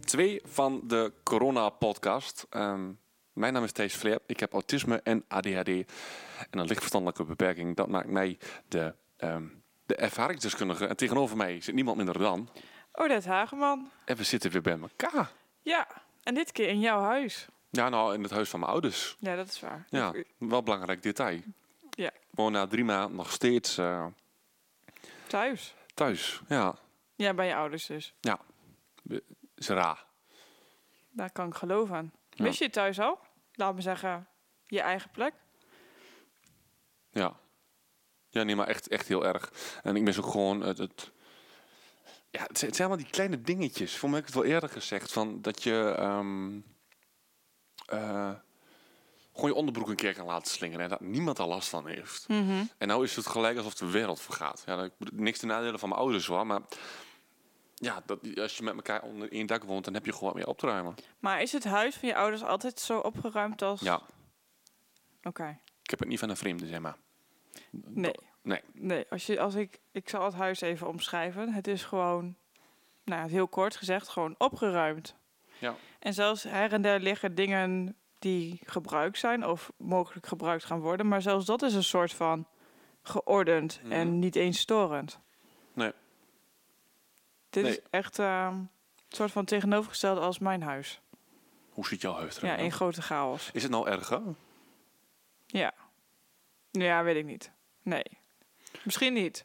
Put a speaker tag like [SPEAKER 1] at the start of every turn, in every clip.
[SPEAKER 1] 2 van de Corona-podcast. Ehm, mijn naam is Thijs Vleer, ik heb autisme en ADHD en een lichtverstandelijke beperking. Dat maakt mij de, ehm, de ervaringsdeskundige. En tegenover mij zit niemand minder dan.
[SPEAKER 2] Odette Oh, Hageman.
[SPEAKER 1] En we zitten weer bij elkaar.
[SPEAKER 2] Ja, en dit keer in jouw huis.
[SPEAKER 1] Ja, nou, in het huis van mijn ouders.
[SPEAKER 2] Ja, dat is waar.
[SPEAKER 1] Ja,
[SPEAKER 2] Ik-
[SPEAKER 1] wel belangrijk detail.
[SPEAKER 2] Ja.
[SPEAKER 1] Gewoon na drie maanden nog steeds eh,
[SPEAKER 2] Thuis.
[SPEAKER 1] thuis. Ja,
[SPEAKER 2] Ja, bij je ouders dus.
[SPEAKER 1] ja. Is raar.
[SPEAKER 2] Daar kan ik geloof aan.
[SPEAKER 1] Ja.
[SPEAKER 2] Mis je het thuis al? Laat me zeggen, je eigen plek.
[SPEAKER 1] Ja. Ja, nee, maar echt, echt heel erg. En ik mis ook gewoon het... het ja, het zijn het zijn allemaal die kleine dingetjes. Voor mij heb ik het wel eerder gezegd. Van dat je... ehm, eh, gewoon je onderbroek een keer kan laten slingeren. En dat niemand daar last van heeft. En nou is het gelijk alsof de wereld vergaat. Ja, ik bedoel, niks te nadelen van mijn ouders hoor, maar ja, dat, als je met elkaar onder één dak woont, dan heb je gewoon meer op te ruimen.
[SPEAKER 2] Maar is het huis van je ouders altijd zo opgeruimd als...
[SPEAKER 1] Ja,
[SPEAKER 2] Oké.
[SPEAKER 1] ik heb het niet van een vreemde, zeg maar.
[SPEAKER 2] Nee.
[SPEAKER 1] Nee.
[SPEAKER 2] Nee, als, je, als ik... Ik zal het huis even omschrijven. Het is gewoon, nou, heel kort gezegd, gewoon opgeruimd.
[SPEAKER 1] Ja.
[SPEAKER 2] En zelfs her en der liggen dingen die gebruikt zijn of mogelijk gebruikt gaan worden. Maar zelfs dat is een soort van geordend
[SPEAKER 1] Mhm.
[SPEAKER 2] en niet eens storend.
[SPEAKER 1] Nee.
[SPEAKER 2] Dit
[SPEAKER 1] Nee.
[SPEAKER 2] is echt ehm, een soort van tegenovergestelde als mijn huis.
[SPEAKER 1] Hoe ziet jouw huis
[SPEAKER 2] Ja,
[SPEAKER 1] eruit?
[SPEAKER 2] één grote chaos.
[SPEAKER 1] Is het nou erger?
[SPEAKER 2] Ja. Ja, weet ik niet. Nee. Misschien niet.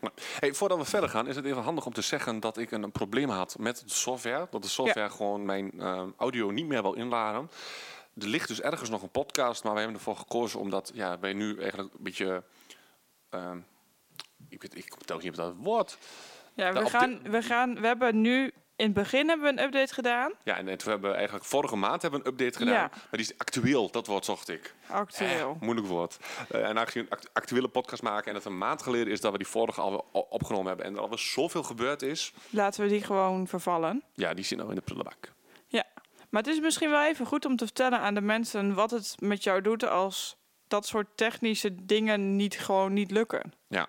[SPEAKER 1] Nou, Hey, voordat we verder gaan, is het even handig om te zeggen dat ik een, een probleem had met de software. Dat de software gewoon mijn ehm, audio niet meer wil inladen. Er ligt dus ergens nog een podcast, maar we hebben ervoor gekozen omdat ja, wij nu eigenlijk een beetje. ehm, ik weet ik kom telkens niet op dat woord.
[SPEAKER 2] Ja,
[SPEAKER 1] Nou,
[SPEAKER 2] we
[SPEAKER 1] op
[SPEAKER 2] gaan, we gaan, we hebben nu, in het begin hebben we een update gedaan.
[SPEAKER 1] Ja, en, en toen hebben we eigenlijk vorige maand hebben we een update gedaan.
[SPEAKER 2] Ja.
[SPEAKER 1] Maar die is actueel, dat woord zocht ik.
[SPEAKER 2] Actueel.
[SPEAKER 1] Eh, moeilijk woord. Eh, en aangezien we een act- actuele podcast maken en het een maand geleden is dat we die vorige al opgenomen hebben en er alweer zoveel gebeurd is.
[SPEAKER 2] Laten we die gewoon vervallen.
[SPEAKER 1] Ja, die zit nou in de prullenbak.
[SPEAKER 2] Ja, maar het is misschien wel even goed om te vertellen aan de mensen wat het met jou doet als dat soort technische dingen niet gewoon niet lukken.
[SPEAKER 1] Ja,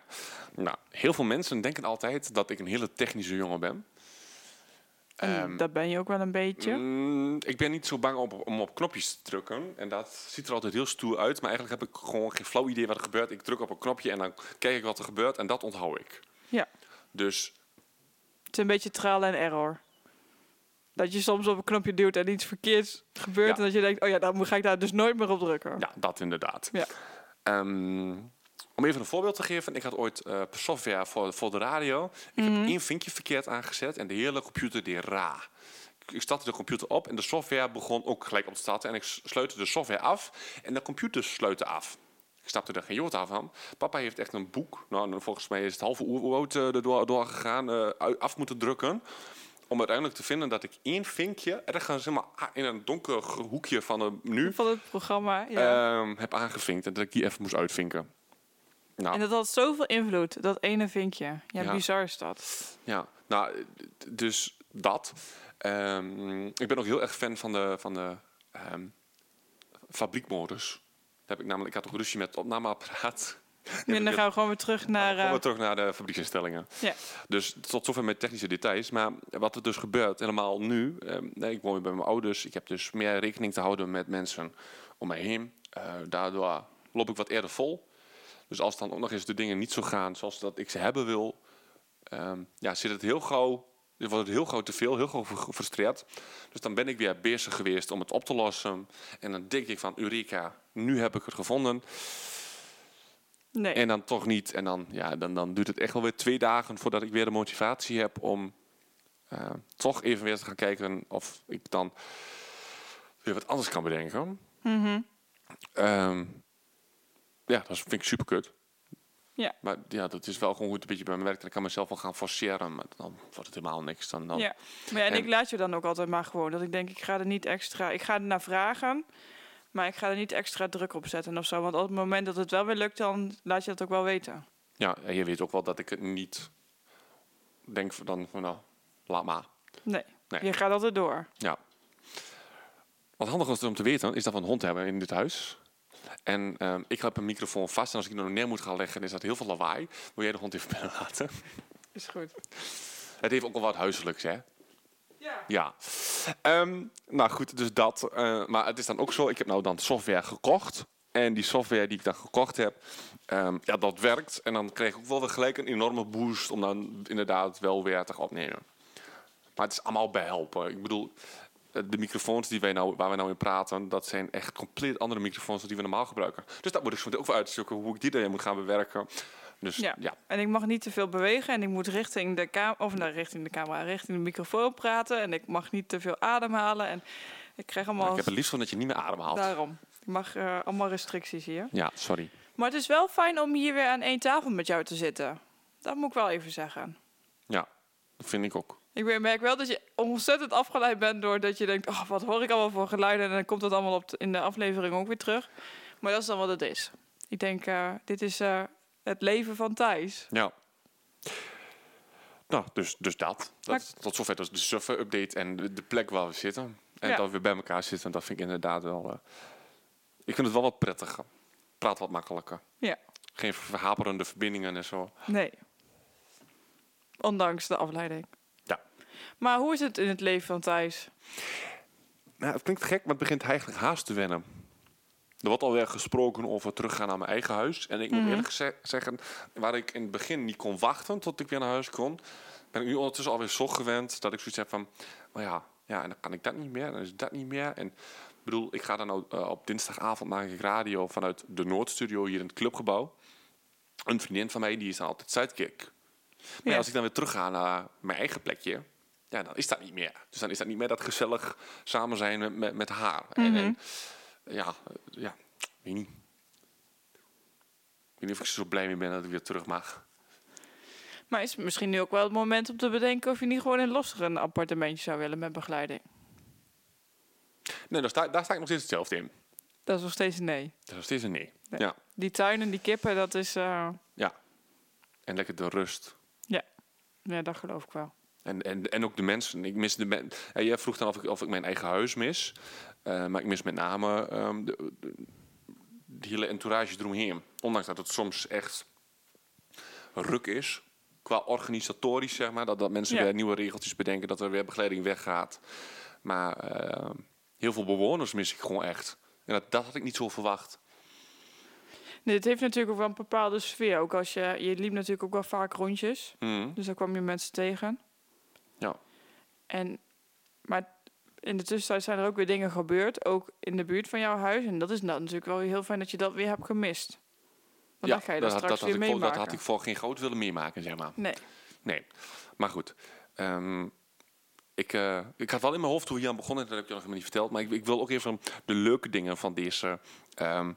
[SPEAKER 1] nou, heel veel mensen denken altijd dat ik een hele technische jongen ben.
[SPEAKER 2] En
[SPEAKER 1] Ehm,
[SPEAKER 2] dat ben je ook wel een beetje.
[SPEAKER 1] Mm, ik ben niet zo bang op, om op knopjes te drukken. En dat ziet er altijd heel stoer uit. Maar eigenlijk heb ik gewoon geen flauw idee wat er gebeurt. Ik druk op een knopje en dan kijk ik wat er gebeurt. En dat onthoud ik.
[SPEAKER 2] Ja,
[SPEAKER 1] Dus
[SPEAKER 2] het is een beetje trial en error. Dat je soms op een knopje duwt en iets verkeerds gebeurt
[SPEAKER 1] Ja.
[SPEAKER 2] en dat je denkt, oh ja, dan ga ik daar dus nooit meer op drukken.
[SPEAKER 1] ja, dat inderdaad.
[SPEAKER 2] Ja.
[SPEAKER 1] Ehm, om even een voorbeeld te geven. Ik had ooit eh, software voor, voor de radio. Ik heb één vinkje verkeerd aangezet en de hele computer deed ra. Ik- Ik startte de computer op en de software begon ook gelijk op te starten. En ik s- sluitte de software af en de computer sluitte af. Ik snapte er geen jota van. Papa heeft echt een boek. Nou, en volgens mij is het halve uur oud eh, erdoor doorgegaan. eh, u- af moeten drukken. Om uiteindelijk te vinden dat ik één vinkje ergens helemaal a- ah, in een donker ge- hoekje van een menu
[SPEAKER 2] Van het programma. Ja.
[SPEAKER 1] ehm, heb aangevinkt. En dat ik die even moest uitvinken. Nou,
[SPEAKER 2] En dat had zoveel invloed, dat ene vinkje. Ja,
[SPEAKER 1] Ja.
[SPEAKER 2] bizar is dat.
[SPEAKER 1] Ja, nou, d- dus dat. Ehm, ik ben ook heel erg fan van de, van de ehm, fabriekmodus. Daar heb ik namelijk, ik had ook ruzie met het opnameapparaat.
[SPEAKER 2] En dan gaan we gewoon weer terug naar...
[SPEAKER 1] Gaan we
[SPEAKER 2] eh,
[SPEAKER 1] terug naar de fabrieksinstellingen.
[SPEAKER 2] ja.
[SPEAKER 1] Dus tot zover met technische details. Maar wat er dus gebeurt, helemaal nu. ehm, nee, ik woon weer bij mijn ouders. Ik heb dus meer rekening te houden met mensen om mij heen. Eh, daardoor loop ik wat eerder vol. Dus als dan ook nog eens de dingen niet zo gaan zoals dat ik ze hebben wil, ehm, ja, zit het heel gauw, wordt het heel gauw te veel, heel gauw ver- gefrustreerd. Dus dan ben ik weer bezig geweest om het op te lossen. En dan denk ik van, Eureka, nu heb ik het gevonden.
[SPEAKER 2] Nee.
[SPEAKER 1] En dan toch niet. En dan, ja, dan, dan duurt het echt wel weer twee dagen voordat ik weer de motivatie heb om eh, toch even weer te gaan kijken of ik dan weer wat anders kan bedenken. Ehm, ja, dat is- vind ik super kut.
[SPEAKER 2] Ja.
[SPEAKER 1] Maar ja, dat is wel gewoon hoe het een beetje bij me werkt. En ik kan mezelf wel gaan forceren, maar dan wordt het helemaal niks. Dan, dan...
[SPEAKER 2] Ja. Maar ja, en
[SPEAKER 1] Oh. En-
[SPEAKER 2] ik laat je dan ook altijd maar gewoon. Dat ik denk, ik ga er niet extra... Ik ga er naar vragen, maar ik ga er niet extra druk op zetten of zo. Want op het moment dat het wel weer lukt, dan laat je dat ook wel weten.
[SPEAKER 1] Ja, en je weet ook wel dat ik het niet denk van dan van nou, laat maar.
[SPEAKER 2] Nee,
[SPEAKER 1] Nee.
[SPEAKER 2] je gaat altijd door.
[SPEAKER 1] Ja. Wat handig was om te weten, is dat we een hond hebben in dit huis. En ehm, ik heb een microfoon vast. En als ik die nog neer moet gaan leggen, is dat heel veel lawaai. Wil jij de hond even binnen laten?
[SPEAKER 2] Is goed.
[SPEAKER 1] Het heeft ook wel wat huiselijks, hè?
[SPEAKER 2] Ja.
[SPEAKER 1] Ja. Ehm, nou goed, dus dat. Eh, maar het is dan ook zo, ik heb nou dan software gekocht. En die software die ik dan gekocht heb, ehm, ja, dat werkt. En dan kreeg ik ook wel weer gelijk een enorme boost om dan inderdaad wel weer te gaan opnemen. Maar het is allemaal bijhelpen. Ik bedoel, eh, de microfoons die wij nou, waar we nou in praten, dat zijn echt compleet andere microfoons dan die we normaal gebruiken. Dus dat moet ik zo meteen ook weer uitzoeken, hoe ik die dan moet gaan bewerken. Dus
[SPEAKER 2] Ja.
[SPEAKER 1] ja.
[SPEAKER 2] En ik mag niet te veel bewegen en ik moet richting de camera, of nou, richting de camera, richting de microfoon praten. En ik mag niet te veel ademhalen. En ik krijg allemaal
[SPEAKER 1] Ik heb het liefst van dat je niet meer ademhaalt.
[SPEAKER 2] daarom. Ik mag eh, allemaal restricties hier.
[SPEAKER 1] Ja, sorry.
[SPEAKER 2] Maar het is wel fijn om hier weer aan één tafel met jou te zitten. Dat moet ik wel even zeggen.
[SPEAKER 1] Ja, dat vind ik ook.
[SPEAKER 2] Ik weer- merk wel dat je ontzettend afgeleid bent door dat je denkt, oh, wat hoor ik allemaal voor geluiden? En dan komt dat allemaal op de- in de aflevering ook weer terug. Maar dat is dan wat het is. Ik denk, eh, dit is eh, het leven van Thijs.
[SPEAKER 1] Ja. Nou, dus, dus dat.
[SPEAKER 2] Maar-
[SPEAKER 1] dat is- tot zover dus de suffer update en de, de plek waar we zitten. En
[SPEAKER 2] Ja.
[SPEAKER 1] dat we weer bij elkaar zitten, dat vind ik inderdaad wel... eh, ik vind het wel wat prettiger. Praat wat makkelijker.
[SPEAKER 2] Ja,
[SPEAKER 1] Geen verhaperende verbindingen en zo.
[SPEAKER 2] nee. Ondanks de afleiding.
[SPEAKER 1] Ja.
[SPEAKER 2] Maar hoe is het in het leven van Thijs?
[SPEAKER 1] Nou, het klinkt gek, maar het begint eigenlijk haast te wennen. Er wordt alweer gesproken over teruggaan naar mijn eigen huis. En ik moet eerlijk ze- zeggen, waar ik in het begin niet kon wachten tot ik weer naar huis kon, ben ik nu ondertussen alweer zo gewend dat ik zoiets heb van, nou ja, ja, en dan kan ik dat niet meer, dan is dat niet meer. En ik bedoel, ik ga dan nou, eh, op dinsdagavond maak ik radio vanuit de Noordstudio hier in het clubgebouw. Een vriendin van mij, die is dan altijd sidekick. Maar ja,
[SPEAKER 2] Ja.
[SPEAKER 1] als ik dan weer terug ga naar mijn eigen plekje, ja, dan is dat niet meer. Dus dan is dat niet meer dat gezellig samen zijn met, met, met haar. En- en, ja, eh, ja, weet niet. Ik weet niet of ik er zo blij mee ben dat ik weer terug mag.
[SPEAKER 2] Maar is het misschien nu ook wel het moment om te bedenken of je niet gewoon in Losser een appartementje zou willen met begeleiding?
[SPEAKER 1] Nee, daar sta, daar sta ik nog steeds hetzelfde in.
[SPEAKER 2] Dat is nog steeds een nee.
[SPEAKER 1] Dat is nog steeds een nee.
[SPEAKER 2] Nee.
[SPEAKER 1] Ja,
[SPEAKER 2] Die tuin en die kippen, dat is. eh,
[SPEAKER 1] ja. En lekker de rust.
[SPEAKER 2] ja. ja, dat geloof ik wel.
[SPEAKER 1] En, en, en ook de mensen. Ik mis de men ja, jij vroeg dan of ik, of ik mijn eigen huis mis. Eh, maar ik mis met name ehm de, de, de hele entourage eromheen. Ondanks dat het soms echt ruk is. Qua organisatorisch, zeg maar. Dat, dat mensen
[SPEAKER 2] Ja.
[SPEAKER 1] weer nieuwe regeltjes bedenken. Dat er weer begeleiding weggaat. Maar ehm, heel veel bewoners mis ik gewoon echt. En dat, dat had ik niet zo verwacht.
[SPEAKER 2] Nee, het heeft natuurlijk ook wel een bepaalde sfeer. Ook als je, je liep natuurlijk ook wel vaak rondjes.
[SPEAKER 1] Mhm.
[SPEAKER 2] Dus dan kwam je mensen tegen.
[SPEAKER 1] Ja.
[SPEAKER 2] En, maar in de tussentijd zijn er ook weer dingen gebeurd. Ook in de buurt van jouw huis. En dat is nou natuurlijk wel weer heel fijn dat je dat weer hebt gemist. Want dan ga je dat,
[SPEAKER 1] had-
[SPEAKER 2] straks
[SPEAKER 1] had
[SPEAKER 2] weer
[SPEAKER 1] ik voor-
[SPEAKER 2] meemaken.
[SPEAKER 1] dat had ik voor geen groot willen meemaken, zeg maar.
[SPEAKER 2] Nee.
[SPEAKER 1] Nee, maar goed. Ehm, ik, eh, ik had wel in mijn hoofd hoe Jan begon, en dat heb ik je nog helemaal niet verteld. Maar ik, ik wil ook even de leuke dingen van deze ehm,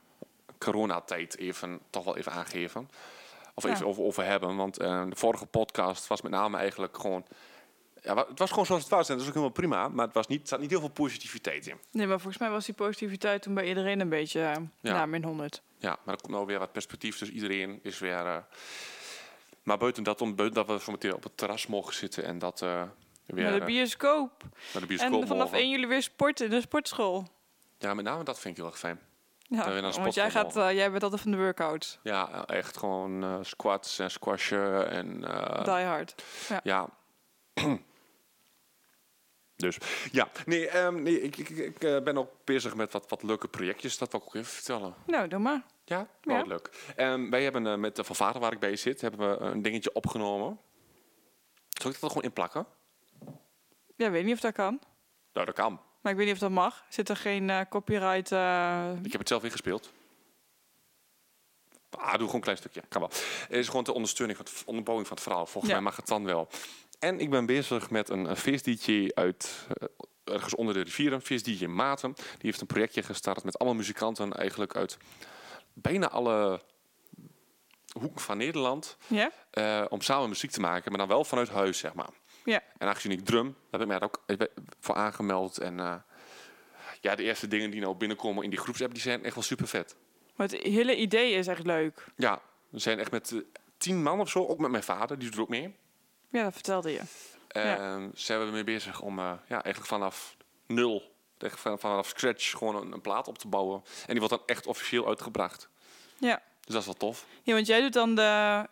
[SPEAKER 1] coronatijd even, toch wel even aangeven. Of
[SPEAKER 2] Ja.
[SPEAKER 1] even over, over hebben. Want eh, de vorige podcast was met name eigenlijk gewoon. Ja, wa- het was gewoon zoals het was en dat is ook helemaal prima. Maar het was niet, er zat niet heel veel positiviteit in.
[SPEAKER 2] nee, maar volgens mij was die positiviteit toen bij iedereen een beetje eh,
[SPEAKER 1] Ja.
[SPEAKER 2] na min 100.
[SPEAKER 1] Ja, maar er komt nou weer wat perspectief, dus iedereen is weer. eh, maar buiten dat, om, buiten dat we zo meteen op het terras mogen zitten en dat eh, weer
[SPEAKER 2] Maar de
[SPEAKER 1] eh,
[SPEAKER 2] bioscoop.
[SPEAKER 1] naar de bioscoop
[SPEAKER 2] En vanaf
[SPEAKER 1] mogen.
[SPEAKER 2] 1 juli weer sporten in de sportschool.
[SPEAKER 1] Ja, met name dat vind ik heel erg fijn.
[SPEAKER 2] Ja,
[SPEAKER 1] weer naar de
[SPEAKER 2] want jij,
[SPEAKER 1] sportschool
[SPEAKER 2] gaat, eh, jij bent altijd van de workouts.
[SPEAKER 1] Ja, echt gewoon eh, squats en squashen en... eh,
[SPEAKER 2] Die hard.
[SPEAKER 1] ja. dus, ja. Nee, ehm, nee ik, ik, ik eh, ben ook bezig met wat, wat leuke projectjes. Dat wil ik ook even vertellen.
[SPEAKER 2] Nou, doe maar.
[SPEAKER 1] Ja, wel
[SPEAKER 2] Ja.
[SPEAKER 1] leuk. Ehm, wij hebben eh, met de van vader waar ik bij zit, hebben we een dingetje opgenomen. Zal ik dat er gewoon in plakken?
[SPEAKER 2] Ja, ik weet niet of dat kan.
[SPEAKER 1] Nou, dat kan.
[SPEAKER 2] Maar ik weet niet of dat mag. Zit er geen eh, copyright... eh,
[SPEAKER 1] Ik heb het zelf ingespeeld. Ah, doe gewoon een klein stukje. Kan wel. Het is gewoon de ondersteuning, van het, onderbouwing van het verhaal. Volgens
[SPEAKER 2] Ja.
[SPEAKER 1] mij mag het dan wel. En ik ben bezig met een, een feestdj uit eh, ergens onder de rivieren. Feestdj Maarten. Die heeft een projectje gestart met allemaal muzikanten eigenlijk uit bijna alle hoeken van Nederland
[SPEAKER 2] Ja?
[SPEAKER 1] eh, om samen muziek te maken, maar dan wel vanuit huis, zeg maar.
[SPEAKER 2] Ja.
[SPEAKER 1] En aangezien ik drum, daar heb ik mij daar ook eh, voor aangemeld. En eh, ja, de eerste dingen die nou binnenkomen in die groepsapp, die zijn echt wel super vet.
[SPEAKER 2] Maar het hele idee is echt leuk.
[SPEAKER 1] Ja, we zijn echt met eh, tien man of zo, ook met mijn vader, die doet er ook mee.
[SPEAKER 2] Ja, dat vertelde je. Ja.
[SPEAKER 1] Ehm, Zijn we mee bezig om eh, ja, eigenlijk vanaf nul, echt van- vanaf scratch, gewoon een, een plaat op te bouwen. En die wordt dan echt officieel uitgebracht.
[SPEAKER 2] Ja.
[SPEAKER 1] Dus dat is wel tof.
[SPEAKER 2] ja, want jij doet dan de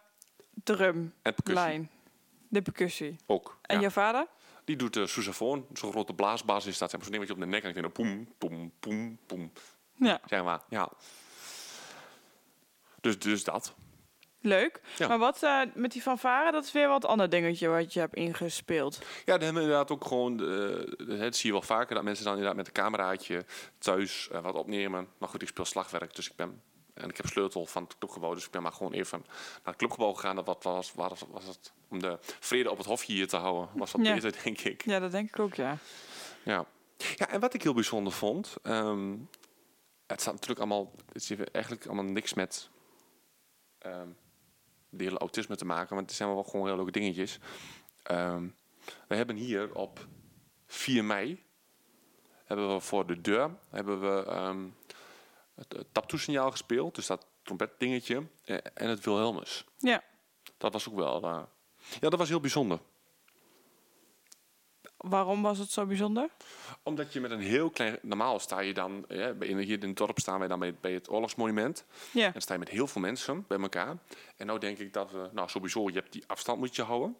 [SPEAKER 2] drumlijn.
[SPEAKER 1] En percussie
[SPEAKER 2] De percussie.
[SPEAKER 1] ook.
[SPEAKER 2] En
[SPEAKER 1] ja.
[SPEAKER 2] jouw vader?
[SPEAKER 1] Die doet de sousaphone, zo'n grote blaasbaas is dat. Zeg maar, Zo'n dingetje op de nek en ik denk dan poem, poem, poem, poem.
[SPEAKER 2] Ja,
[SPEAKER 1] Zeg maar, ja. Dus, dus dat.
[SPEAKER 2] leuk.
[SPEAKER 1] Ja.
[SPEAKER 2] Maar wat eh, met die fanfare, dat is weer wat ander dingetje wat je hebt ingespeeld.
[SPEAKER 1] Ja, dan hebben we inderdaad ook gewoon... eh, dat zie je wel vaker, dat mensen dan inderdaad met een cameraatje thuis eh, wat opnemen. Maar goed, ik speel slagwerk, dus ik ben... En ik heb sleutel van het clubgebouw, dus ik ben maar gewoon even naar het clubgebouw gegaan. Dat wat was, was, was het om de vrede op het hofje hier te houden. Was wat
[SPEAKER 2] Ja.
[SPEAKER 1] beter, denk ik.
[SPEAKER 2] Ja, dat denk ik ook, ja.
[SPEAKER 1] Ja. ja, en wat ik heel bijzonder vond. ehm, het staat natuurlijk allemaal. Het heeft eigenlijk allemaal niks met. ehm de hele autisme te maken. Want het zijn wel gewoon heel leuke dingetjes. Ehm, we hebben hier op 4 mei. Hebben we voor de deur. Hebben we. ehm, het, het taptoe-signaal gespeeld. Dus dat trompetdingetje. eh, En het Wilhelmus.
[SPEAKER 2] Ja.
[SPEAKER 1] Dat was ook wel. eh, ja, dat was heel bijzonder.
[SPEAKER 2] Waarom was het zo bijzonder?
[SPEAKER 1] Omdat je met een heel klein... Normaal sta je dan... Ja, bij- in, hier in het dorp staan wij dan bij, bij het oorlogsmonument.
[SPEAKER 2] Ja.
[SPEAKER 1] En dan sta je met heel veel mensen bij elkaar. En nou denk ik dat we... Nou, sowieso, je hebt die afstand moet je houden.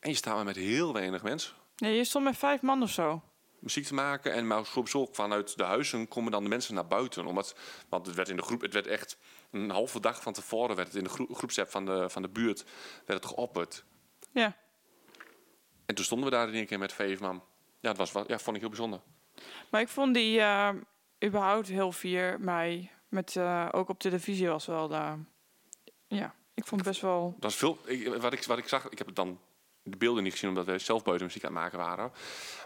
[SPEAKER 1] En je staat maar met heel weinig mensen
[SPEAKER 2] Nee, je stond met vijf man of zo.
[SPEAKER 1] muziek te maken. En maar sowieso ook vanuit de huizen komen dan de mensen naar buiten. Omdat, want het werd in de groep... Het werd echt een halve dag van tevoren... werd het in de groe- groepsapp van de, van de buurt werd het geopperd.
[SPEAKER 2] Ja.
[SPEAKER 1] En toen stonden we daar in één keer met vijf man. Ja, dat was, wel- ja, vond ik heel bijzonder.
[SPEAKER 2] Maar ik vond die eh, überhaupt heel 4 mei, met, eh, ook op televisie was wel... eh, ja, ik vond het best wel...
[SPEAKER 1] Dat is veel, ik, wat, ik, wat ik zag, ik heb het dan de beelden niet gezien omdat we zelf buiten muziek aan het maken waren.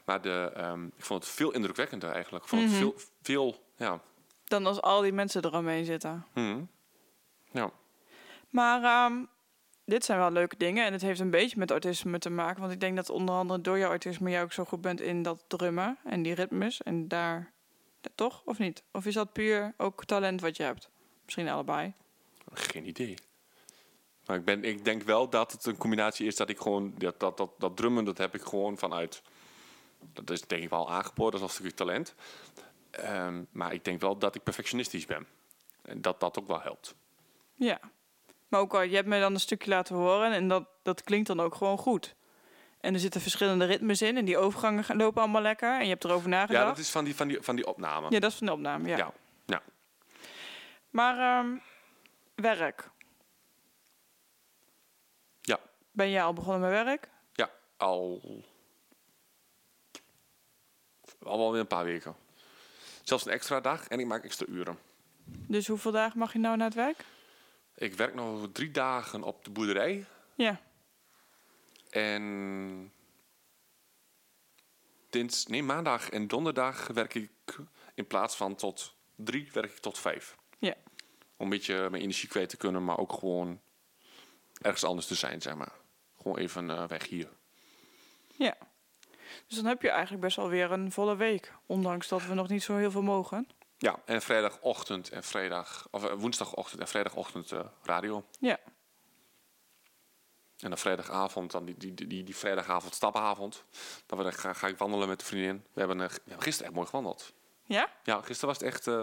[SPEAKER 1] Maar de, ehm, ik vond het veel indrukwekkender eigenlijk. Ik vond
[SPEAKER 2] Mhm.
[SPEAKER 1] het veel, veel ja.
[SPEAKER 2] Dan als al die mensen eromheen zitten.
[SPEAKER 1] Mhm. ja.
[SPEAKER 2] Maar ehm, dit zijn wel leuke dingen. En het heeft een beetje met autisme te maken. Want ik denk dat onder andere door jouw autisme jij ook zo goed bent in dat drummen en die ritmes. En daar, ja, toch of niet? Of is dat puur ook talent wat je hebt? Misschien allebei.
[SPEAKER 1] Geen idee. Maar ik, ben, ik denk wel dat het een combinatie is dat ik gewoon... Dat, dat, dat, dat drummen, dat heb ik gewoon vanuit... Dat is denk ik wel aangeboren, dat is wel een stukje talent. Ehm, maar ik denk wel dat ik perfectionistisch ben. En dat dat ook wel helpt.
[SPEAKER 2] Ja. Maar ook al, je hebt mij dan een stukje laten horen en dat, dat klinkt dan ook gewoon goed. En er zitten verschillende ritmes in en die overgangen gaan- lopen allemaal lekker. En je hebt erover nagedacht.
[SPEAKER 1] Ja, dat is van die, van die, van die opname.
[SPEAKER 2] ja, dat is van de opname, ja.
[SPEAKER 1] ja. ja.
[SPEAKER 2] Maar ehm, werk.
[SPEAKER 1] Ja.
[SPEAKER 2] Ben jij al begonnen met werk?
[SPEAKER 1] Ja, al. Al wel weer een paar weken. Zelfs een extra dag en ik maak extra uren.
[SPEAKER 2] Dus hoeveel dagen mag je nou naar het werk?
[SPEAKER 1] Ik werk nog drie dagen op de boerderij
[SPEAKER 2] Ja.
[SPEAKER 1] en. Dins, nee, maandag en donderdag werk ik in plaats van tot drie, werk ik tot vijf.
[SPEAKER 2] Ja.
[SPEAKER 1] Om een beetje mijn energie kwijt te kunnen, maar ook gewoon ergens anders te zijn, zeg maar. Gewoon even eh, weg hier.
[SPEAKER 2] Ja. Dus dan heb je eigenlijk best wel weer een volle week. Ondanks dat we nog niet zo heel veel mogen.
[SPEAKER 1] Ja, en vrijdagochtend en vrijdag, of eh, woensdagochtend en vrijdagochtend eh, radio.
[SPEAKER 2] Ja.
[SPEAKER 1] En dan vrijdagavond, dan die, die, die, die, die vrijdagavond stappenavond. Dan we- dan ga, ga ik wandelen met de vriendin. We hebben, eh, g- we hebben gisteren echt mooi gewandeld.
[SPEAKER 2] Ja?
[SPEAKER 1] Ja, gisteren was het echt... eh,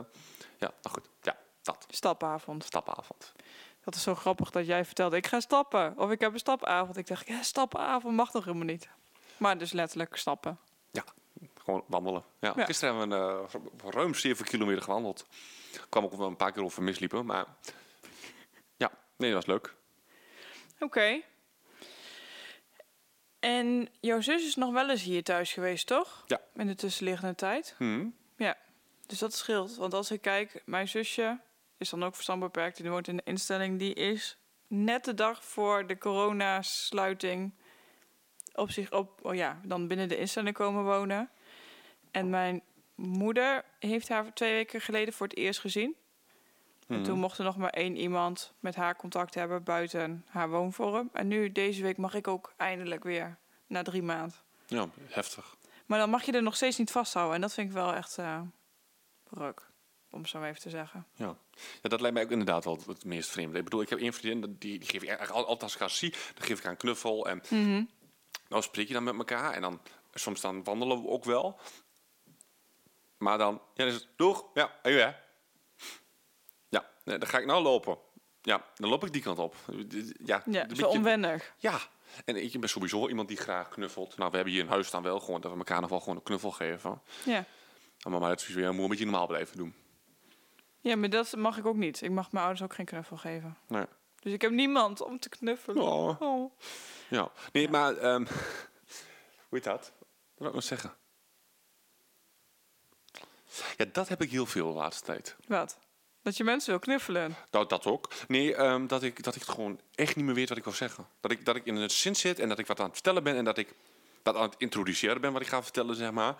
[SPEAKER 1] ja, nou goed. Ja, dat.
[SPEAKER 2] Stapavond.
[SPEAKER 1] Stappenavond.
[SPEAKER 2] Dat is zo grappig dat jij vertelde, ik ga stappen. Of ik heb een stapavond. Ik dacht, ja, stapavond mag toch helemaal niet. Maar dus letterlijk stappen.
[SPEAKER 1] Ja, gewoon wandelen. Ja,
[SPEAKER 2] Ja.
[SPEAKER 1] Gisteren hebben we eh, ru- ruim 7 kilometer gewandeld. kwam ook wel een paar keer over misliepen, maar... Ja, nee, dat was leuk.
[SPEAKER 2] Oké. En jouw zus is nog wel eens hier thuis geweest, toch?
[SPEAKER 1] Ja.
[SPEAKER 2] In de tussenliggende tijd.
[SPEAKER 1] Hm.
[SPEAKER 2] Dus dat scheelt. Want als ik kijk, mijn zusje is dan ook verstandbeperkt. Die woont in de instelling. Die is net de dag voor de coronasluiting op zich op... Oh ja, dan binnen de instelling komen wonen. En mijn moeder heeft haar twee weken geleden voor het eerst gezien. En toen mocht er nog maar één iemand met haar contact hebben buiten haar woonvorm. En nu, deze week, mag ik ook eindelijk weer na drie maanden.
[SPEAKER 1] Ja, heftig.
[SPEAKER 2] Maar dan mag je er nog steeds niet vasthouden. En dat vind ik wel echt eh ruk, om zo even te zeggen.
[SPEAKER 1] Ja. ja, dat lijkt mij ook inderdaad wel het meest vreemd. Ik bedoel, ik heb één vriendin, dat- die, die geef ik eigenlijk al- altijd als ik haar zie, dan geef ik haar een knuffel en dan spreek je dan met elkaar en dan soms dan wandelen we ook wel. Maar dan, ja, dan is het, doeg, ja, en u hè? Ja, nee, dan ga ik nou lopen. Ja, dan loop ik die kant op. Ja,
[SPEAKER 2] Ja,
[SPEAKER 1] een
[SPEAKER 2] zo
[SPEAKER 1] beetje-
[SPEAKER 2] onwennig.
[SPEAKER 1] ja, en ik ben sowieso iemand die graag knuffelt. Nou, we hebben hier in huis dan wel gewoon dat we elkaar nog wel gewoon een knuffel geven.
[SPEAKER 2] Ja.
[SPEAKER 1] Maar, maar dat is weer moet een beetje normaal blijven doen.
[SPEAKER 2] ja, maar dat mag ik ook niet. Ik mag mijn ouders ook geen knuffel geven.
[SPEAKER 1] Nee.
[SPEAKER 2] Dus ik heb niemand om te knuffelen.
[SPEAKER 1] Oh.
[SPEAKER 2] Oh.
[SPEAKER 1] Ja, nee, maar ehm, hoe heet dat? Wat wil ik nog zeggen? Ja, dat heb ik heel veel de laatste tijd.
[SPEAKER 2] Wat? Dat je mensen wil knuffelen.
[SPEAKER 1] Dat, dat ook. Nee, ehm, dat, ik, dat ik het gewoon echt niet meer weet wat ik wil zeggen. Dat ik, dat ik in een zin zit en dat ik wat aan het vertellen ben en dat ik dat aan het introduceren ben wat ik ga vertellen, zeg maar.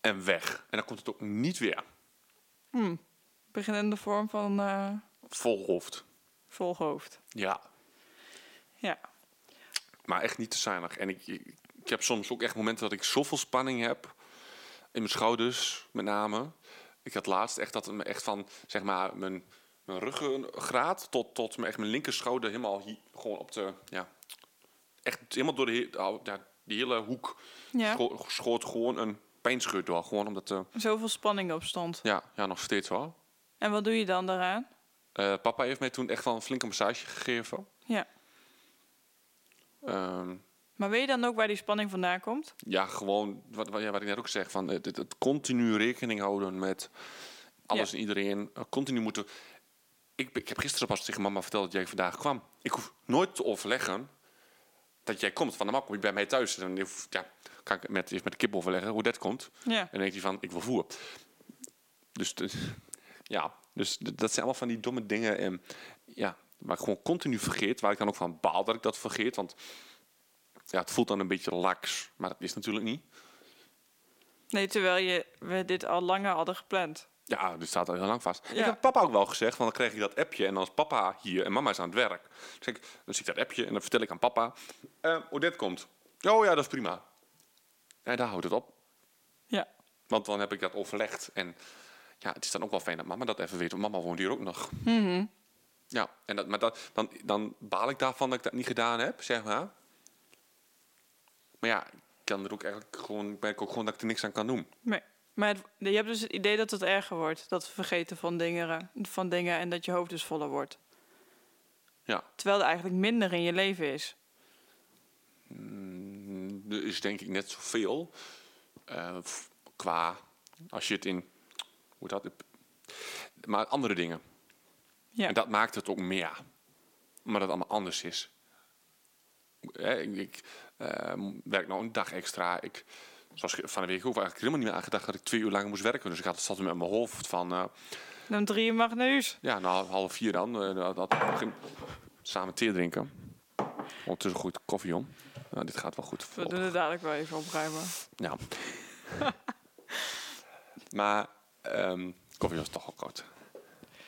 [SPEAKER 1] En weg. En dan komt het ook niet weer.
[SPEAKER 2] Beginnende vorm van eh
[SPEAKER 1] Vol hoofd.
[SPEAKER 2] volhoofd.
[SPEAKER 1] Ja,
[SPEAKER 2] Ja.
[SPEAKER 1] maar echt niet te zuinig. En ik, ik, ik heb soms ook echt momenten dat ik zoveel spanning heb. In mijn schouders, met name. Ik had laatst echt dat het me echt van, zeg maar, mijn, mijn ruggengraat tot, tot mijn, echt mijn linkerschouder helemaal hier, gewoon op de, ja, echt helemaal door de, he- nou, ja, die hele hoek
[SPEAKER 2] ja.
[SPEAKER 1] scho- schoot gewoon een pijnscheur door. Gewoon omdat, eh,
[SPEAKER 2] Zoveel spanning op stond.
[SPEAKER 1] ja, ja, nog steeds wel.
[SPEAKER 2] En wat doe je dan daaraan?
[SPEAKER 1] Eh, papa heeft mij toen echt wel een flinke massage gegeven.
[SPEAKER 2] Ja.
[SPEAKER 1] Ehm,
[SPEAKER 2] Maar weet je dan ook waar die spanning vandaan komt?
[SPEAKER 1] Ja, gewoon wat, wat, ja, wat ik net ook zeg. Van het, het, het continu rekening houden met alles
[SPEAKER 2] Ja.
[SPEAKER 1] en iedereen. eh, Continu moeten... Ik, be- ik heb gisteren pas tegen mama verteld dat jij vandaag kwam. Ik hoef nooit te overleggen dat jij komt. Van normaal kom je bij mij thuis. En dan hoef- ja, kan ik met, eerst met de kip overleggen hoe dat komt.
[SPEAKER 2] Ja.
[SPEAKER 1] En dan denkt hij van, ik wil voer. Dus de- ja, dus d- dat zijn allemaal van die domme dingen. En ja, waar ik gewoon continu vergeet. Waar ik dan ook van baal dat ik dat vergeet. Want ja, het voelt dan een beetje laks. Maar dat is natuurlijk niet.
[SPEAKER 2] Nee, terwijl je, we dit al langer hadden gepland.
[SPEAKER 1] Ja, dit staat al heel lang vast. Ik
[SPEAKER 2] Ja.
[SPEAKER 1] heb papa ook wel gezegd, want dan kreeg ik dat appje. En dan is papa hier en mama is aan het werk. Dus ik, dan zie ik dat appje en dan vertel ik aan papa eh, hoe dit komt. Oh ja, dat is prima. En daar houdt het op.
[SPEAKER 2] Ja.
[SPEAKER 1] Want dan heb ik dat overlegd. En ja, het is dan ook wel fijn dat mama dat even weet. Want mama woont hier ook nog. Ja, en dat, maar dat, dan, dan baal ik daarvan dat ik dat niet gedaan heb, zeg maar. Maar ja, ik kan er ook eigenlijk gewoon, ik merk ook gewoon dat ik er niks aan kan doen.
[SPEAKER 2] Nee. Maar het- je hebt dus het idee dat het erger wordt. Dat vergeten van dingen, van dingen en dat je hoofd dus voller wordt.
[SPEAKER 1] Ja,
[SPEAKER 2] Terwijl er eigenlijk minder in je leven is.
[SPEAKER 1] er is denk ik net zoveel. eh, f- qua, als je het in, hoe dat, maar andere dingen.
[SPEAKER 2] Ja.
[SPEAKER 1] En dat maakt het ook meer. Maar dat het allemaal anders is. Hè, ik ik eh, werk nou een dag extra. Ik, zoals ik van de week ook eigenlijk helemaal niet meer aangedacht dat ik twee uur lang moest werken. Dus ik had het zat met mijn hoofd van, eh,
[SPEAKER 2] Dan drie uur mag naar huis.
[SPEAKER 1] ja, nou half vier dan. eh, dat, dat, samen thee drinken. Ondertussen goed koffie om. Nou, dit gaat wel goed.
[SPEAKER 2] We doen het dadelijk wel even opruimen.
[SPEAKER 1] Nou. maar ehm, koffie was toch al koud.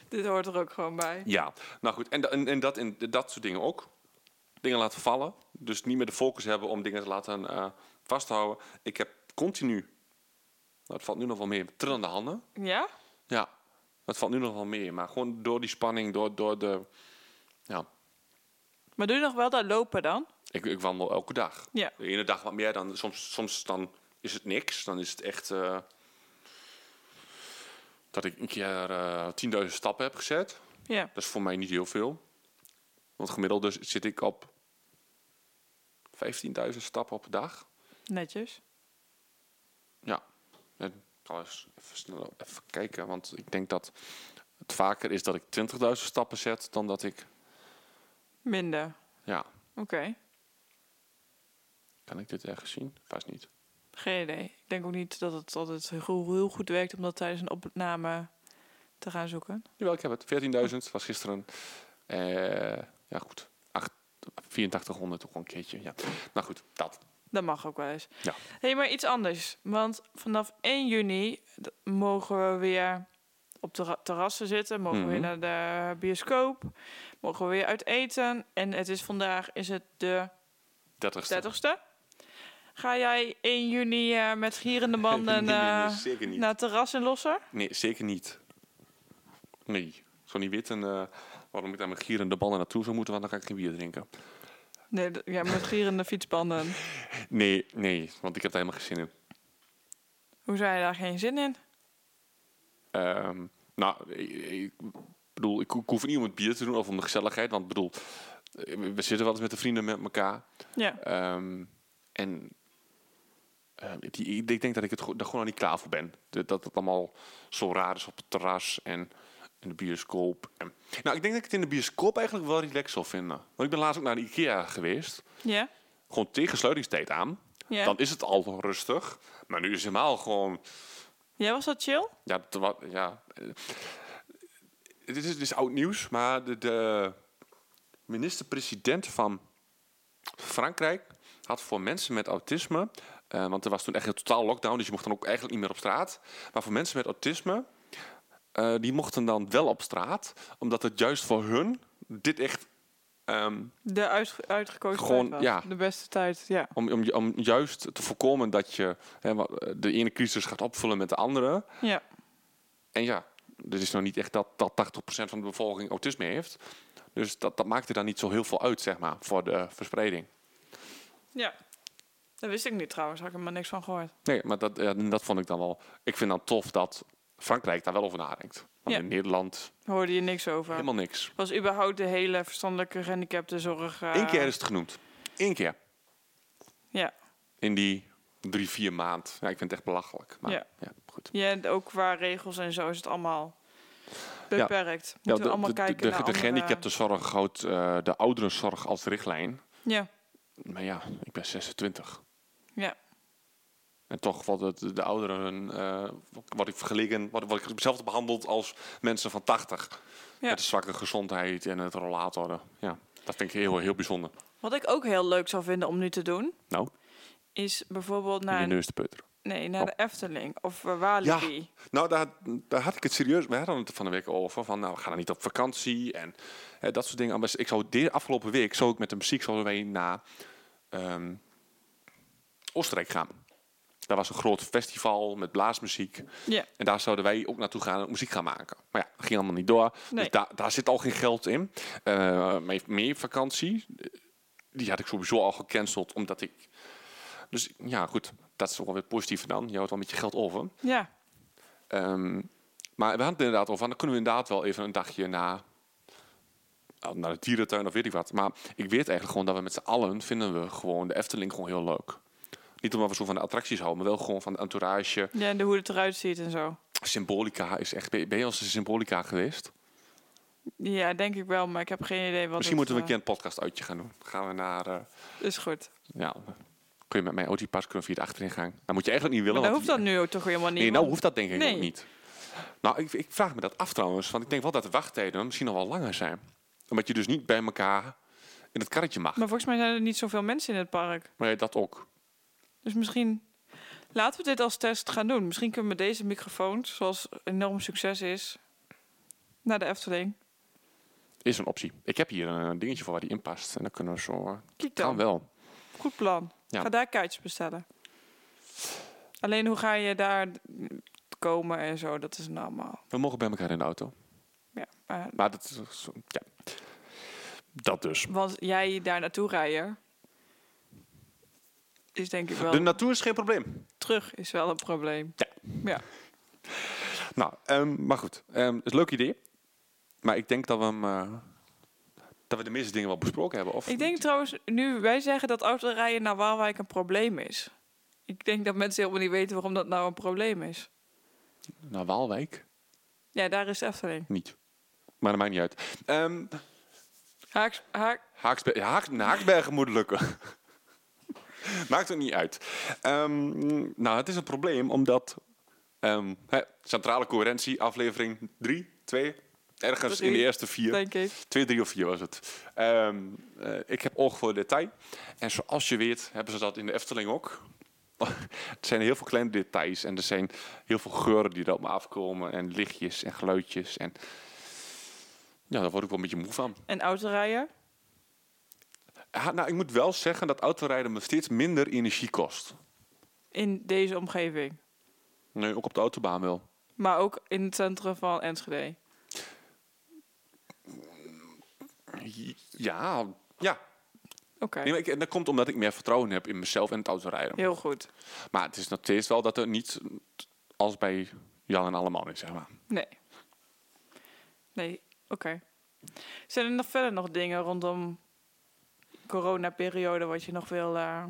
[SPEAKER 2] Dit hoort er ook gewoon bij.
[SPEAKER 1] Ja, nou goed. En, da- en, en, dat, en dat soort dingen ook. Dingen laten vallen. Dus niet meer de focus hebben om dingen te laten eh, vasthouden. Ik heb continu... Nou, het valt nu nog wel mee. Trillende handen.
[SPEAKER 2] Ja?
[SPEAKER 1] Ja, dat valt nu nog wel mee. Maar gewoon door die spanning, door, door de... Ja,
[SPEAKER 2] Maar doe je nog wel dat lopen dan?
[SPEAKER 1] ik, ik wandel elke dag.
[SPEAKER 2] Ja.
[SPEAKER 1] De ene dag wat meer dan... Soms, soms dan is het niks. Dan is het echt... eh, dat ik een keer eh 10.000 stappen heb gezet.
[SPEAKER 2] Ja.
[SPEAKER 1] Dat is voor mij niet heel veel. Want gemiddeld dus zit ik op 15.000 stappen op een dag.
[SPEAKER 2] Netjes.
[SPEAKER 1] Ja. En ik zal eens even, snel even kijken. Want ik denk dat het vaker is dat ik 20.000 stappen zet dan dat ik...
[SPEAKER 2] Minder.
[SPEAKER 1] Ja,
[SPEAKER 2] Oké.
[SPEAKER 1] kan ik dit ergens zien? Vast niet.
[SPEAKER 2] Geen idee. Ik denk ook niet dat het altijd heel, heel goed werkt om dat tijdens een opname te gaan zoeken.
[SPEAKER 1] Jawel, ik heb het. 14.000 was gisteren. Eh, ja, goed. Acht- 8400 ook al een keertje. Ja. Nou goed, dat.
[SPEAKER 2] Dat mag ook wel eens.
[SPEAKER 1] Ja.
[SPEAKER 2] Hé, hey, maar iets anders. Want vanaf 1 juni d- mogen we weer op de terrassen zitten, mogen we weer
[SPEAKER 1] Mhm.
[SPEAKER 2] naar de bioscoop, mogen we weer uit eten. En het is vandaag is het de
[SPEAKER 1] 30
[SPEAKER 2] 30ste. Ga jij 1 juni eh, met gierende banden
[SPEAKER 1] nee, nee,
[SPEAKER 2] eh,
[SPEAKER 1] zeker niet.
[SPEAKER 2] naar het terras in Losser?
[SPEAKER 1] Nee, zeker niet. Nee. Ik zou niet weten eh, waarom ik daar met gierende banden naartoe zou moeten, want dan kan ik geen bier drinken.
[SPEAKER 2] Nee, d- ja, met gierende fietsbanden.
[SPEAKER 1] Nee, nee, want ik heb daar helemaal geen zin in.
[SPEAKER 2] Hoe zou je daar geen zin in?
[SPEAKER 1] Ehm, nou, ik, ik bedoel, ik, ho- ik hoef het niet om het bier te doen of om de gezelligheid. Want ik bedoel, eh, we we zitten wel eens met de vrienden met elkaar.
[SPEAKER 2] Ja.
[SPEAKER 1] Ehm, en ehm, die, ik, ik denk dat ik het go- daar gewoon nog niet klaar voor ben. Dat, dat het allemaal zo raar is op het terras en in de bioscoop. En, nou, ik denk dat ik het in de bioscoop eigenlijk wel relaxed zal vinden. Want ik ben laatst ook naar de Ikea geweest.
[SPEAKER 2] Ja?
[SPEAKER 1] Gewoon tegen sluitingstijd aan.
[SPEAKER 2] Ja?
[SPEAKER 1] Dan is het al rustig. Maar nu is het helemaal gewoon
[SPEAKER 2] Jij was dat chill?
[SPEAKER 1] ja, te wa- ja. eh, Dit is, dit is oud nieuws, maar de, de minister-president van Frankrijk had voor mensen met autisme. eh, want er was toen echt een totaal lockdown, dus je mocht dan ook eigenlijk niet meer op straat. Maar voor mensen met autisme, eh, die mochten dan wel op straat, omdat het juist voor hun dit echt. ehm,
[SPEAKER 2] De uitge- uitgekozen
[SPEAKER 1] Gewoon,
[SPEAKER 2] tijd was.
[SPEAKER 1] ja.
[SPEAKER 2] De beste tijd, ja.
[SPEAKER 1] om, om, om juist te voorkomen dat je hè, wa- de ene crisis gaat opvullen met de andere.
[SPEAKER 2] Ja.
[SPEAKER 1] En ja, er is nog niet echt dat, dat 80% van de bevolking autisme heeft. Dus dat, dat maakte dan niet zo heel veel uit, zeg maar, voor de verspreiding.
[SPEAKER 2] Ja. Dat wist ik niet trouwens, had ik er maar niks van gehoord.
[SPEAKER 1] Nee, maar dat, ja, dat vond ik dan wel... Ik vind dan tof dat Frankrijk daar wel over nadenkt. Want
[SPEAKER 2] Ja.
[SPEAKER 1] in Nederland
[SPEAKER 2] Hoorde je niks over.
[SPEAKER 1] helemaal niks.
[SPEAKER 2] Was überhaupt de hele verstandelijke gehandicaptenzorg... zorg. eh,
[SPEAKER 1] Eén keer is het genoemd. Eén keer.
[SPEAKER 2] Ja.
[SPEAKER 1] In die drie, vier maand. Ja, ik vind het echt belachelijk. Maar ja,
[SPEAKER 2] Ja.
[SPEAKER 1] goed.
[SPEAKER 2] Ja, en ook qua regels en zo is het allemaal beperkt. Moeten
[SPEAKER 1] Ja,
[SPEAKER 2] we allemaal kijken
[SPEAKER 1] de, de,
[SPEAKER 2] naar
[SPEAKER 1] de
[SPEAKER 2] andere-
[SPEAKER 1] gehandicaptenzorg houdt eh, de ouderenzorg als richtlijn.
[SPEAKER 2] Ja,
[SPEAKER 1] Maar ja, ik ben 26.
[SPEAKER 2] ja.
[SPEAKER 1] En toch wordt het de ouderen, eh wat ik vergeleken, wat, wat ik zelf behandeld als mensen van 80.
[SPEAKER 2] Ja.
[SPEAKER 1] Met de zwakke gezondheid en het rollatoren. Ja, dat vind ik heel, heel bijzonder.
[SPEAKER 2] Wat ik ook heel leuk zou vinden om nu te doen,
[SPEAKER 1] Nou,
[SPEAKER 2] is bijvoorbeeld
[SPEAKER 1] in
[SPEAKER 2] naar,
[SPEAKER 1] je Oh. neus te putteren.
[SPEAKER 2] nee, naar de Efteling of eh, Walibi.
[SPEAKER 1] Nou, daar, daar had ik het serieus, we hadden het er van de week over. Van, nou, we gaan er niet op vakantie en hè, dat soort dingen. Maar ik zou de afgelopen week, zou ik met de muziek, zouden wij naar ehm, Oostenrijk gaan. Daar was een groot festival met blaasmuziek.
[SPEAKER 2] Ja.
[SPEAKER 1] En daar zouden wij ook naartoe gaan en muziek gaan maken. Maar ja, dat ging allemaal niet door.
[SPEAKER 2] Nee.
[SPEAKER 1] Dus daar- daar zit al geen geld in. Eh, mijn meer vakantie, eh, die had ik sowieso al gecanceld, omdat ik... Dus ja, goed, dat is toch wel weer positief dan. Je houdt wel met je geld over.
[SPEAKER 2] ja.
[SPEAKER 1] Ehm, maar we hadden het inderdaad over, dan kunnen we inderdaad wel even een dagje na, nou, naar de dierentuin of weet ik wat. Maar ik weet eigenlijk gewoon dat we met z'n allen vinden we gewoon de Efteling gewoon heel leuk. Niet omdat we zo van de attracties houden, maar wel gewoon van de entourage.
[SPEAKER 2] ja, en de hoe het eruit ziet en zo.
[SPEAKER 1] Symbolica is echt. Ben je- ben je als een Symbolica geweest?
[SPEAKER 2] Ja, denk ik wel, maar ik heb geen idee wat
[SPEAKER 1] Misschien
[SPEAKER 2] het,
[SPEAKER 1] moeten we een
[SPEAKER 2] eh,
[SPEAKER 1] keer een podcast uitje gaan doen. Dan Gaan we naar. eh,
[SPEAKER 2] Is goed.
[SPEAKER 1] ja, kun je met mijn OT-pas kunnen via de achterin Dan moet je eigenlijk niet willen.
[SPEAKER 2] Maar dan
[SPEAKER 1] want
[SPEAKER 2] hoeft dat nu ook toch helemaal niet.
[SPEAKER 1] Nee, nou
[SPEAKER 2] want-
[SPEAKER 1] hoeft dat denk ik
[SPEAKER 2] Nee.
[SPEAKER 1] ook niet. Nou, ik, ik vraag me dat af trouwens. Want ik denk wel dat de wachttijden misschien nog wel langer zijn. Omdat je dus niet bij elkaar in het karretje mag.
[SPEAKER 2] Maar volgens mij zijn er niet zoveel mensen in het park.
[SPEAKER 1] Maar ja, dat ook.
[SPEAKER 2] Dus misschien laten we dit als test gaan doen. Misschien kunnen we deze microfoon, zoals enorm succes is, naar de Efteling.
[SPEAKER 1] Is een optie. Ik heb hier een dingetje voor waar die in past. En dan kunnen we zo... eh,
[SPEAKER 2] Kijk
[SPEAKER 1] Kan
[SPEAKER 2] dan.
[SPEAKER 1] wel.
[SPEAKER 2] Goed plan.
[SPEAKER 1] Ja.
[SPEAKER 2] Ga daar kaartjes bestellen. Alleen hoe ga je daar komen en zo, dat is normaal.
[SPEAKER 1] We mogen bij elkaar in de auto.
[SPEAKER 2] Ja. maar-
[SPEAKER 1] Maar dat is... eh, zo- Ja. Dat dus.
[SPEAKER 2] want jij daar naartoe rijden is denk ik wel...
[SPEAKER 1] De natuur is geen probleem.
[SPEAKER 2] terug is wel een probleem.
[SPEAKER 1] Ja.
[SPEAKER 2] Ja.
[SPEAKER 1] Nou, ehm, maar goed. Ehm, het is een leuk idee. Maar ik denk dat we hem... eh, dat we de meeste dingen wel besproken hebben. Of
[SPEAKER 2] Ik denk trouwens, nu wij zeggen dat autorijden naar Waalwijk een probleem is. Ik denk dat mensen helemaal niet weten waarom dat nou een probleem is.
[SPEAKER 1] naar Waalwijk.
[SPEAKER 2] Ja, daar is Efteling.
[SPEAKER 1] Niet. Maar dat maakt niet uit. Ehm
[SPEAKER 2] Haaks, haak,
[SPEAKER 1] Haaksbe Haak Haaksbergen moet lukken. maakt ook niet uit. Ehm, nou, het is een probleem omdat... ehm, hè, centrale coherentie, aflevering 3, 2... Ergens in de
[SPEAKER 2] Drie,
[SPEAKER 1] eerste vier.
[SPEAKER 2] denk ik.
[SPEAKER 1] Twee, drie of vier was het. Ehm, eh, ik heb oog voor detail. En zoals je weet, hebben ze dat in de Efteling ook. Het zijn heel veel kleine details en er zijn heel veel geuren die er op me afkomen en lichtjes en geluidjes. En ja, daar word ik wel een beetje moe van.
[SPEAKER 2] En autorijden?
[SPEAKER 1] Ah, nou, ik moet wel zeggen dat autorijden me steeds minder energie kost.
[SPEAKER 2] In deze omgeving.
[SPEAKER 1] Nee, ook op de autobaan wel.
[SPEAKER 2] Maar ook in het centrum van Enschede.
[SPEAKER 1] Ja, ja.
[SPEAKER 2] Oké,
[SPEAKER 1] Nee, maar ik, en dat komt omdat ik meer vertrouwen heb in mezelf en het autorijden.
[SPEAKER 2] heel goed.
[SPEAKER 1] Maar het is nog steeds wel dat er niet als bij Jan en Alleman is, zeg maar.
[SPEAKER 2] Nee. Nee, oké. Zijn er nog verder nog dingen rondom coronaperiode wat je nog wil... eh,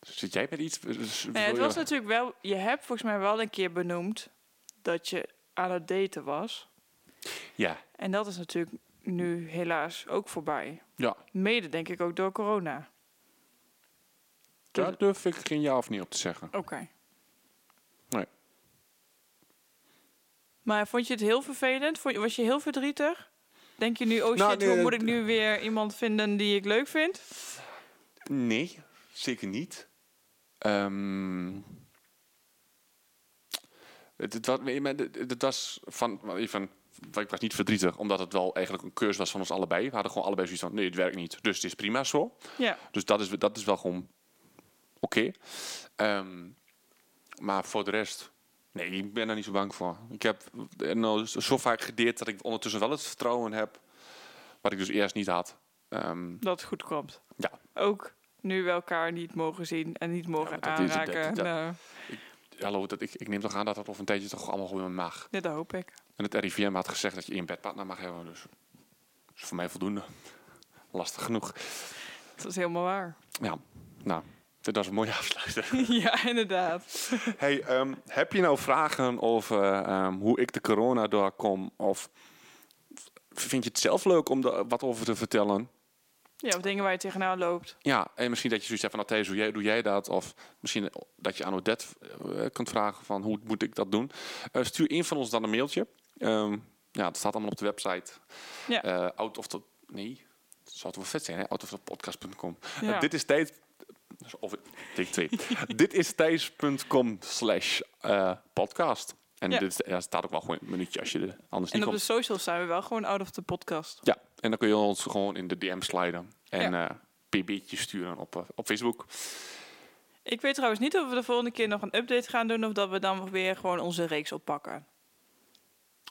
[SPEAKER 1] Zit jij met iets? Dus
[SPEAKER 2] Nee, het
[SPEAKER 1] wil je-
[SPEAKER 2] was natuurlijk wel... Je hebt volgens mij wel een keer benoemd dat je aan het daten was.
[SPEAKER 1] Ja,
[SPEAKER 2] En dat is natuurlijk nu helaas ook voorbij.
[SPEAKER 1] ja.
[SPEAKER 2] Mede denk ik ook door corona. Dus-
[SPEAKER 1] Daar durf ik geen ja of nee op te zeggen.
[SPEAKER 2] Oké.
[SPEAKER 1] Nee.
[SPEAKER 2] Maar vond je het heel vervelend? Vond je, was je heel verdrietig? Denk je nu, oh shit,
[SPEAKER 1] Nou, nee,
[SPEAKER 2] hoe moet
[SPEAKER 1] het-
[SPEAKER 2] ik nu weer iemand vinden die ik leuk vind?
[SPEAKER 1] Nee, zeker niet. Ehm, het, het, was, nee, maar het- het was van wel even. Ik was niet verdrietig, omdat het wel eigenlijk een cursus was van ons allebei. We hadden gewoon allebei zoiets van: nee, het werkt niet. Dus het is prima zo.
[SPEAKER 2] Ja.
[SPEAKER 1] Dus dat is, dat is wel gewoon oké. Ehm, maar voor de rest, nee, ik ben er niet zo bang voor. Ik heb eh, nou, zo- zo vaak gedeerd dat ik ondertussen wel het vertrouwen heb, wat ik dus eerst niet had. Ehm,
[SPEAKER 2] Dat het goed komt.
[SPEAKER 1] Ja.
[SPEAKER 2] Ook nu we elkaar niet mogen zien en niet mogen
[SPEAKER 1] maar dat is- dat-
[SPEAKER 2] aanraken.
[SPEAKER 1] dat-
[SPEAKER 2] Nou,
[SPEAKER 1] hallo, dat, ik, ik neem toch aan dat dat over een tijdje toch allemaal gewoon mag.
[SPEAKER 2] ja, dat hoop ik.
[SPEAKER 1] En het RIVM had gezegd dat je één bedpartner mag hebben, dus dat is voor mij voldoende. Lastig genoeg.
[SPEAKER 2] Dat is helemaal waar.
[SPEAKER 1] Ja, nou, dit was een mooie afsluiter.
[SPEAKER 2] ja, inderdaad.
[SPEAKER 1] Hey, ehm, heb je nou vragen over ehm, hoe ik de corona doorkom? Of vind je het zelf leuk om daar wat over te vertellen?
[SPEAKER 2] Ja, of dingen waar je tegenaan loopt.
[SPEAKER 1] Ja, en misschien dat je zoiets hebt van, Matthijs, hoe jij, doe jij dat? Of misschien dat je aan Odette eh, kunt vragen van, hoe moet ik dat doen? Eh, stuur een van ons dan een mailtje. Ehm, ja, het staat allemaal op de website.
[SPEAKER 2] Ja.
[SPEAKER 1] Eh, out of the... Nee, het zou toch wel vet zijn, hè? Out of the podcast.com.
[SPEAKER 2] Ja.
[SPEAKER 1] Eh, dit is tijd... dus Of, take twee. dit is thijs.com slash eh, podcast. En
[SPEAKER 2] Ja.
[SPEAKER 1] dit is, ja, staat ook wel gewoon een minuutje als je er anders
[SPEAKER 2] En
[SPEAKER 1] niet
[SPEAKER 2] op de
[SPEAKER 1] komt.
[SPEAKER 2] socials zijn we wel gewoon out of the podcast.
[SPEAKER 1] Ja, en dan kun je ons gewoon in de DM sliden. En eh pb'tjes sturen op, eh, op Facebook.
[SPEAKER 2] Ik weet trouwens niet of we de volgende keer nog een update gaan doen of dat we dan weer gewoon onze reeks oppakken.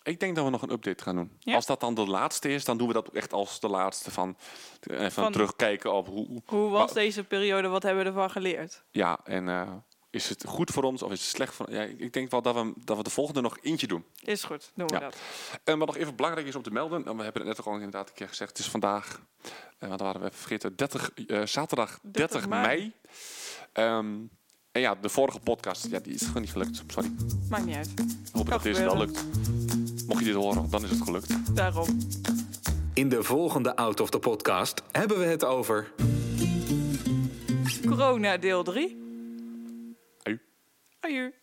[SPEAKER 1] Ik denk dat we nog een update gaan doen.
[SPEAKER 2] Ja.
[SPEAKER 1] Als dat dan de laatste is, dan doen we dat ook echt als de laatste. Van, eh, even
[SPEAKER 2] Van-
[SPEAKER 1] terugkijken op hoe... hoe-
[SPEAKER 2] Hoe was
[SPEAKER 1] Wa-
[SPEAKER 2] deze periode? Wat hebben we ervan geleerd?
[SPEAKER 1] Ja, en eh, is het goed voor ons of is het slecht voor... Ja, ik ik denk wel dat we, dat we de volgende nog eentje doen.
[SPEAKER 2] Is goed, doen we
[SPEAKER 1] Ja.
[SPEAKER 2] dat.
[SPEAKER 1] En wat nog even belangrijk is om te melden, en we hebben het net ook al inderdaad een keer gezegd, het is vandaag, eh, want we waren we even vergeten, 30, eh, zaterdag 30,
[SPEAKER 2] 30
[SPEAKER 1] mei.
[SPEAKER 2] mei.
[SPEAKER 1] Ehm, en ja, de vorige podcast, ja, die is gewoon niet gelukt. Sorry.
[SPEAKER 2] Maakt niet uit.
[SPEAKER 1] Hopen dat deze wel
[SPEAKER 2] gebeuren.
[SPEAKER 1] lukt. Mocht je dit horen, dan is het gelukt.
[SPEAKER 2] Daarom.
[SPEAKER 3] In de volgende Out of the Podcast hebben we het over...
[SPEAKER 2] Corona deel 3.
[SPEAKER 1] Aju.
[SPEAKER 2] Aju.